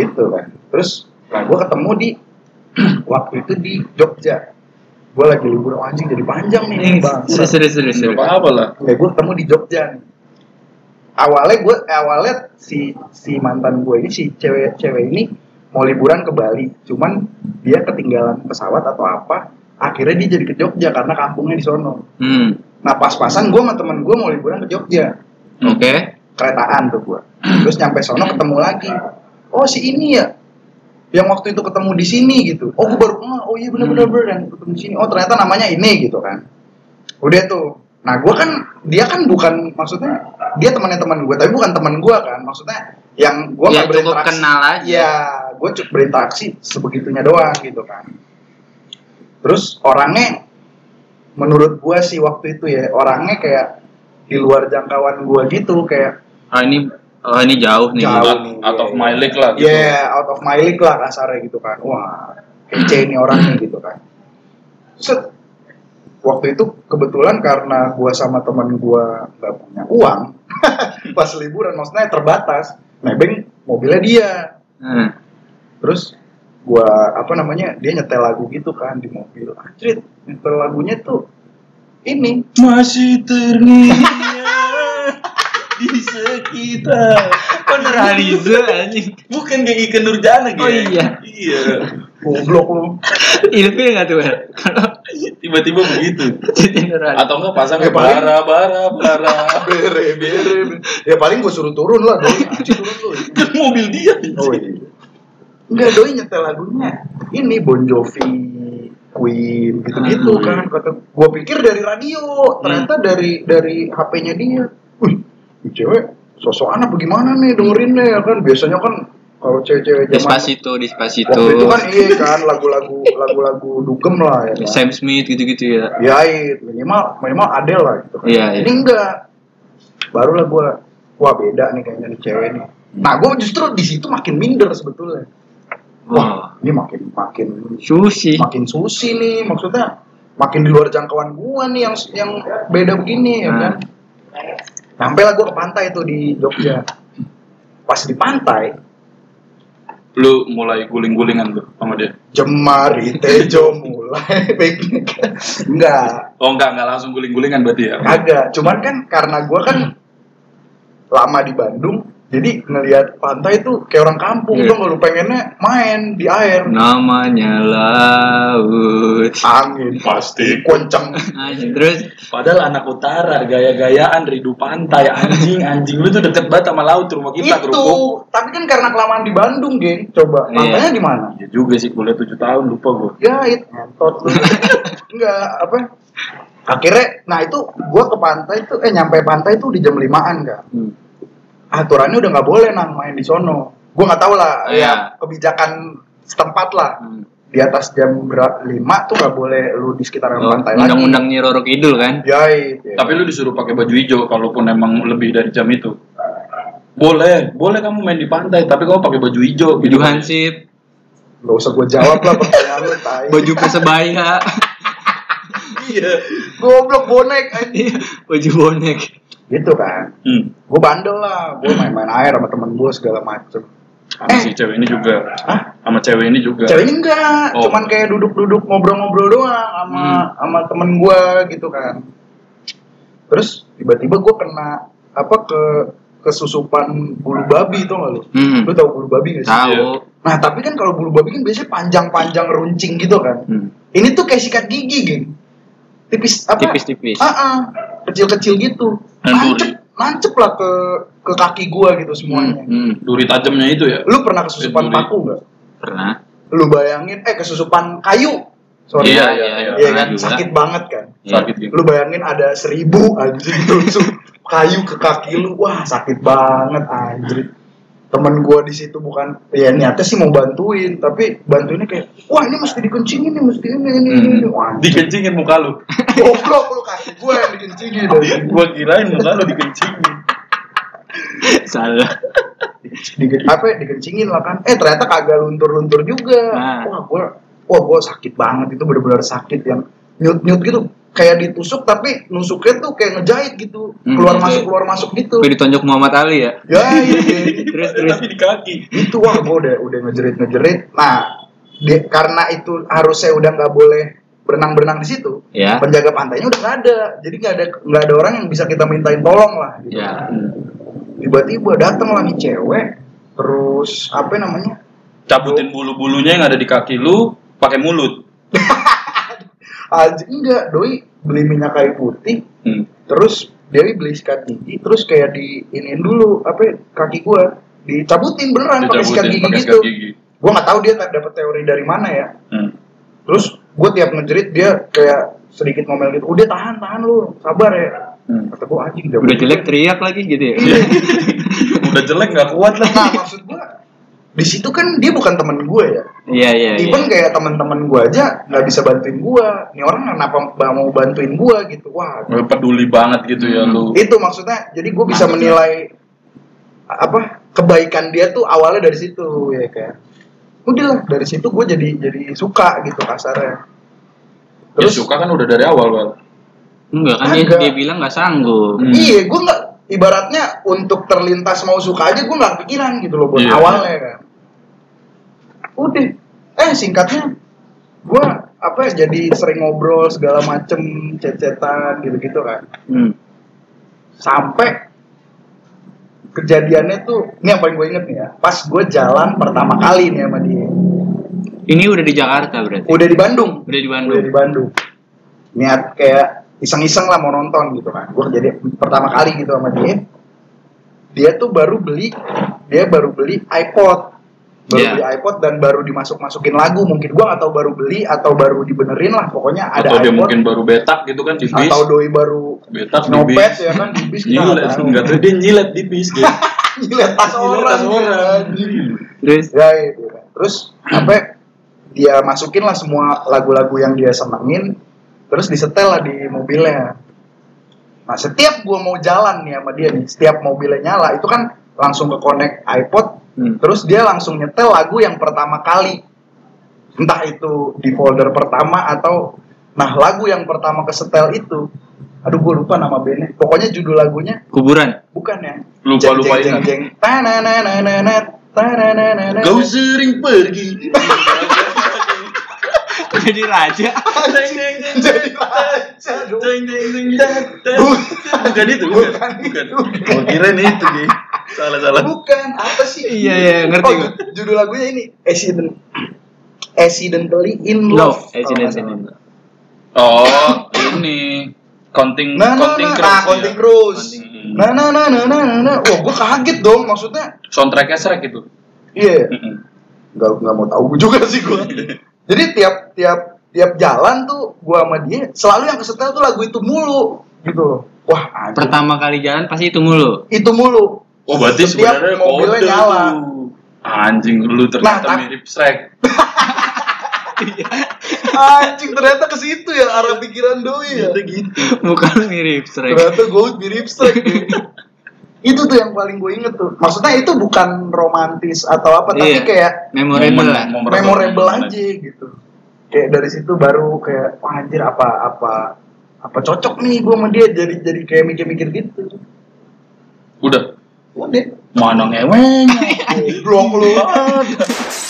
Speaker 1: gitu kan terus nah gue ketemu di waktu itu di Jogja gue lagi libur Wah, anjing jadi panjang nih bang
Speaker 3: Serius serius serius.
Speaker 2: Nggak
Speaker 3: serius.
Speaker 2: apa-apa lah.
Speaker 1: ya gue ketemu di Jogja nih awalnya gue awalnya si si mantan gue ini si cewek cewek ini mau liburan ke Bali cuman dia ketinggalan pesawat atau apa akhirnya dia jadi ke Jogja karena kampungnya di sono
Speaker 3: Hmm.
Speaker 1: nah pas-pasan gue sama temen gue mau liburan ke Jogja
Speaker 3: Oke.
Speaker 1: keretaan tuh gue terus nyampe sono ketemu lagi oh si ini ya yang waktu itu ketemu di sini gitu oh gue baru kenal oh iya bener-bener
Speaker 3: Hmm.
Speaker 1: bener yang ketemu di sini oh ternyata namanya ini gitu kan udah tuh nah gue kan dia kan bukan maksudnya dia temannya teman gue tapi bukan teman gue kan maksudnya yang gue
Speaker 3: Ya, cukup kenal aja.
Speaker 1: ya gue cukup berinteraksi sebegitunya doang gitu kan terus orangnya menurut gue sih waktu itu ya orangnya kayak di luar jangkauan gue gitu kayak
Speaker 3: Oh ini oh ini jauh nih.
Speaker 1: Jauh.
Speaker 2: out, out of my league lah gitu.
Speaker 1: Iya, out of my league lah kasarnya gitu kan. Wah, kece ini orangnya gitu kan. Set. Waktu itu kebetulan karena gua sama teman gua nggak punya uang, pas liburan maksudnya terbatas, nebeng mobilnya dia.
Speaker 3: Hmm.
Speaker 1: Terus gua apa namanya? Dia nyetel lagu gitu kan di mobil. Anjrit, nyetel lagunya tuh ini
Speaker 2: Masih terngiang di sekitar.
Speaker 5: Bener Haliza anjing.
Speaker 2: Bukan kayak ikan Nurjana gitu.
Speaker 3: Oh iya.
Speaker 2: Iya.
Speaker 1: goblok lu.
Speaker 3: Ilfil nggak tuh? Bel? Kalau
Speaker 2: Tiba-tiba begitu.
Speaker 3: Siti Nurhaliza.
Speaker 2: Atau enggak pasang
Speaker 1: Ya, paling-
Speaker 2: bara bara bara.
Speaker 1: Bere, bere, bere. Ya paling gua suruh turun lah, doi. Anjing, turun lu.
Speaker 2: Kan mobil dia.
Speaker 1: Oh iya. Enggak doi nyetel lagunya. Ini Bon Jovi, Queen gitu-gitu
Speaker 3: Ah.
Speaker 2: Hmm.
Speaker 1: kan. Kata gua pikir dari radio, ternyata
Speaker 3: Hmm.
Speaker 1: dari dari HP-nya dia. Wih, ini cewek sosokan apa gimana nih dengerinnya ya kan? Biasanya kan kalau cewek-cewek zaman
Speaker 3: Despacito, Despacito.
Speaker 1: waktu itu kan iya kan lagu-lagu lagu-lagu dugem lah ya. Kan?
Speaker 3: Sam Smith gitu-gitu ya.
Speaker 1: Ya iya, minimal minimal ada lah gitu kan.
Speaker 3: Iya, iya.
Speaker 1: Ini enggak. Barulah gua wah beda nih kayaknya nih cewek nih. Nah, gua justru di situ makin minder sebetulnya.
Speaker 3: Wah.
Speaker 1: Wah, ini makin makin
Speaker 3: Susi.
Speaker 1: makin susi nih maksudnya makin di luar jangkauan gua nih yang yang beda begini ya kan. Sampai lah gua ke pantai tuh di Jogja. Pas di pantai,
Speaker 2: Lu mulai guling-gulingan tuh sama dia.
Speaker 1: jemari tejo mulai piknik. Enggak,
Speaker 2: Oh enggak, enggak langsung guling-gulingan berarti ya.
Speaker 1: Agak, cuman kan karena gua kan lama di Bandung, jadi ngelihat pantai itu kayak orang kampung
Speaker 3: Iya. Hmm.
Speaker 1: dong. Lu pengennya main di air,
Speaker 3: Namanya laut.
Speaker 1: angin
Speaker 2: Pasti.
Speaker 1: kenceng.
Speaker 3: Anjing terus
Speaker 2: Padahal anak utara, gaya-gayaan, rindu pantai, anjing, anjing. Lu tuh deket banget sama laut rumah kita,
Speaker 1: itu,
Speaker 2: kerupuk.
Speaker 1: tapi kan karena kelamaan di Bandung, geng. Coba Ya,
Speaker 3: Iya.
Speaker 1: pantainya di mana?
Speaker 2: Iya juga sih, kuliah 7 tahun, lupa gue.
Speaker 1: Gait, ngentot lu. Enggak, apa? Akhirnya, nah itu gua ke pantai tuh, eh nyampe pantai tuh di jam limaan kan.
Speaker 3: Hmm.
Speaker 1: Aturannya udah nggak boleh nang main di sono. Gua nggak tahu lah,
Speaker 3: Iya. Hmm.
Speaker 1: ya kebijakan setempat lah. di atas jam berapa lima tuh nggak boleh lu di sekitaran
Speaker 3: Oh,
Speaker 1: pantai lagi.
Speaker 3: undang-undang Nyi Roro Kidul kan?
Speaker 1: Jahit. ya.
Speaker 2: Tapi lu disuruh pakai baju hijau, kalaupun emang lebih dari jam itu. Boleh, boleh kamu main di pantai, tapi kamu pakai baju hijau. gitu.
Speaker 3: Baju hansip,
Speaker 1: nggak usah gue jawab lah pertanyaan lu. Tai.
Speaker 3: baju persebaya,
Speaker 2: Iya.
Speaker 1: Goblok bonek. anjing.
Speaker 3: baju bonek.
Speaker 1: gitu kan.
Speaker 2: Hmm.
Speaker 1: Gue bandel lah. Gue main-main air sama temen gue segala macem.
Speaker 2: Sama
Speaker 1: Eh.
Speaker 2: si cewek ini juga. Sama cewek ini juga.
Speaker 1: Ceweknya enggak.
Speaker 2: Oh.
Speaker 1: Cuman kayak duduk-duduk ngobrol-ngobrol doang sama sama temen gue gitu kan. Terus tiba-tiba gue kena apa ke kesusupan bulu babi itu nggak lu?
Speaker 3: Hmm.
Speaker 1: Lu tau bulu babi nggak sih?
Speaker 3: Tahu.
Speaker 1: Nah tapi kan kalau bulu babi kan biasanya panjang-panjang runcing gitu kan.
Speaker 3: Hmm.
Speaker 1: Ini tuh kayak sikat gigi, geng. Tipis apa?
Speaker 3: Tipis-tipis.
Speaker 1: Ah, ah. kecil-kecil gitu.
Speaker 2: Nanduri.
Speaker 1: Nancep, nancep lah ke ke kaki gua gitu semuanya.
Speaker 3: Hmm.
Speaker 2: Duri tajamnya itu ya.
Speaker 1: Lu pernah kesusupan
Speaker 2: Nanduri.
Speaker 1: paku nggak?
Speaker 3: Pernah.
Speaker 1: Lu bayangin, eh kesusupan kayu. Sorry.
Speaker 3: Iya,
Speaker 1: Iya
Speaker 3: iya, iya.
Speaker 1: kan?
Speaker 3: Pernah juga. Iya,
Speaker 1: Sakit banget kan.
Speaker 2: Sakit gitu.
Speaker 1: Lu bayangin ada seribu anjing tusuk kayu ke kaki lu. Wah sakit banget anjir. Temen gua di situ bukan ya niatnya sih mau bantuin, tapi bantuinnya kayak wah ini mesti dikencingin nih, mesti ini ini
Speaker 3: Hmm.
Speaker 1: ini. ini." Wah, anjing.
Speaker 2: Dikencingin muka lu.
Speaker 1: Goblok lu kaki gue yang dikencingin dari
Speaker 2: gua kirain muka lu dikencingin.
Speaker 3: Salah.
Speaker 1: Dike- apa ya, dikencingin lah kan. Eh ternyata kagak luntur-luntur juga.
Speaker 3: Nah.
Speaker 1: Wah gue wah gue sakit banget itu bener-bener sakit yang nyut-nyut gitu kayak ditusuk tapi nusuknya tuh kayak ngejahit gitu
Speaker 3: Hmm,
Speaker 1: keluar
Speaker 3: gitu.
Speaker 1: masuk keluar masuk gitu
Speaker 3: Tapi ditonjok Muhammad Ali ya.
Speaker 1: ya iya.
Speaker 3: Terus terus.
Speaker 2: Tapi di kaki.
Speaker 1: itu wah gue udah udah ngejerit ngejerit nah di- karena itu harusnya udah nggak boleh berenang-berenang di situ
Speaker 3: Ya.
Speaker 1: penjaga pantainya udah nggak ada jadi nggak ada nggak ada orang yang bisa kita mintain tolong lah gitu.
Speaker 3: Ya.
Speaker 1: tiba-tiba datang lagi cewek terus apa namanya
Speaker 2: cabutin bulu-bulunya yang ada di kaki lu pakai mulut.
Speaker 1: Anjing enggak, doi beli minyak kayu putih,
Speaker 2: Hmm.
Speaker 1: terus Dewi beli sikat gigi, terus kayak di iniin dulu apa ya, kaki gua dicabutin beneran pakai sikat
Speaker 2: Dicabutin
Speaker 1: gigi
Speaker 2: pakai
Speaker 1: gitu.
Speaker 2: sikat gigi.
Speaker 1: Gua nggak tahu dia tak dapat teori dari mana ya.
Speaker 2: Hmm.
Speaker 1: Terus gua tiap ngejerit dia kayak sedikit ngomel gitu, udah tahan tahan lu, sabar ya.
Speaker 2: Hmm.
Speaker 1: Kata gua anjing
Speaker 3: Udah jelek teriak lagi gitu ya.
Speaker 2: Udah jelek nggak kuat lah.
Speaker 1: Nah maksud gua di situ kan dia bukan temen gue ya.
Speaker 3: Iya iya iya.
Speaker 1: Even kayak teman-teman gue aja nggak bisa bantuin gue. Ini orang kenapa ba- mau bantuin gue gitu? Wah,
Speaker 2: Nggak peduli banget gitu ya lu.
Speaker 1: itu maksudnya. Jadi gue bisa
Speaker 2: Maksudnya?
Speaker 1: menilai apa kebaikan dia tuh awalnya dari situ ya kayak. Udahlah dari situ gue jadi jadi suka gitu kasarnya.
Speaker 2: Ya,
Speaker 1: Terus
Speaker 2: suka kan udah dari awal, Bal.
Speaker 3: Enggak kan dia,
Speaker 1: Kagak.
Speaker 3: dia bilang nggak sanggup.
Speaker 2: Hmm.
Speaker 1: iya gue nggak ibaratnya untuk terlintas mau suka aja gue nggak kepikiran gitu loh buat
Speaker 2: Iya.
Speaker 1: awalnya kan. Udah eh singkatnya gue apa ya, jadi sering ngobrol segala macem cecetan gitu-gitu kan
Speaker 3: Hmm.
Speaker 1: sampai kejadiannya tuh ini yang paling gue inget nih ya pas gue jalan pertama kali nih sama dia
Speaker 3: Ini udah di Jakarta berarti.
Speaker 1: udah di Bandung
Speaker 3: Udah di
Speaker 1: udah
Speaker 3: Bandung.
Speaker 1: di Bandung niat kayak iseng-iseng lah mau nonton gitu kan gue jadi pertama kali gitu sama dia dia tuh baru beli dia baru beli iPod baru
Speaker 3: Iya.
Speaker 1: beli iPod dan baru dimasuk-masukin lagu mungkin gue atau baru beli atau baru dibenerin lah pokoknya ada
Speaker 2: Atau dia
Speaker 1: iPod
Speaker 2: mungkin baru betak gitu kan di bis.
Speaker 1: atau doi baru
Speaker 2: Betak di
Speaker 1: nyopet
Speaker 2: bis.
Speaker 1: ya kan di bis kita
Speaker 2: Nyilet,
Speaker 1: nggak tahu.
Speaker 2: nggak tahu dia nyilet di bis gitu.
Speaker 1: nyilet tas
Speaker 2: Nyilet
Speaker 1: orang, gitu kan.
Speaker 2: tas orang. gitu.
Speaker 1: anjing.
Speaker 3: Terus
Speaker 1: ya itu kan. terus apa dia masukin lah semua lagu-lagu yang dia senengin terus disetel lah di mobilnya nah setiap gua mau jalan nih sama dia nih setiap mobilnya nyala itu kan langsung ke connect iPod
Speaker 3: Hmm.
Speaker 1: terus dia langsung nyetel lagu yang pertama kali entah itu di folder pertama atau nah lagu yang pertama kesetel itu aduh gue lupa nama bandnya pokoknya judul lagunya
Speaker 3: kuburan.
Speaker 1: Bukan ya.
Speaker 2: Lupa,
Speaker 1: Jeng,
Speaker 2: lupa
Speaker 1: jeng,
Speaker 2: ingat.
Speaker 1: jeng, jeng. Tanananana, tanananana.
Speaker 2: Kau sering pergi.
Speaker 3: Jadi raja.
Speaker 1: Jadi raja dong.
Speaker 2: Bukan itu, bukan. Bukan.
Speaker 1: Oh,
Speaker 2: Gua kirain itu, Gi. Salah-salah.
Speaker 1: Bukan, apa sih?
Speaker 3: Iya, iya,
Speaker 1: Oh,
Speaker 3: ngerti gua.
Speaker 1: judul lagunya ini Accident Accidentally in Love. Oh,
Speaker 3: Love. Accident.
Speaker 2: Oh, ini counting
Speaker 1: Nah, nah,
Speaker 2: counting
Speaker 1: nah,
Speaker 2: Crows
Speaker 1: nah,
Speaker 2: ya.
Speaker 1: Counting Crows.
Speaker 2: Counting.
Speaker 1: Nah, nah, nah, nah, nah, nah, nah. Wah, gue kaget dong maksudnya.
Speaker 2: hmm. Soundtracknya Shrek itu.
Speaker 1: Iya.
Speaker 2: Mm-mm.
Speaker 1: nggak nggak mau tahu juga sih gue jadi tiap tiap tiap jalan tuh gue sama dia selalu yang kesetel tuh lagu itu mulu gitu loh wah anjing.
Speaker 3: Pertama kali jalan pasti itu mulu.
Speaker 1: itu mulu
Speaker 2: Oh, berarti
Speaker 1: Setiap
Speaker 2: sebenarnya
Speaker 1: mobilnya
Speaker 2: kode
Speaker 1: nyala.
Speaker 2: tuh. Anjing lu ternyata
Speaker 1: Nah, tak-
Speaker 2: mirip Shrek.
Speaker 1: anjing ternyata ke situ ya arah pikiran doi ya
Speaker 2: Ternyata gitu.
Speaker 3: Bukan mirip Shrek.
Speaker 1: ternyata gue mirip Shrek ya. itu tuh yang paling gue inget tuh maksudnya itu bukan romantis atau apa tapi
Speaker 3: Iya.
Speaker 1: kayak
Speaker 3: Memorable lah.
Speaker 1: memorable aja gitu kayak dari situ baru kayak wah anjir apa apa apa cocok nih gue sama dia jadi jadi kayak mikir-mikir gitu
Speaker 2: Udah.
Speaker 1: udah
Speaker 2: Mana ngewenya.
Speaker 1: goblok lu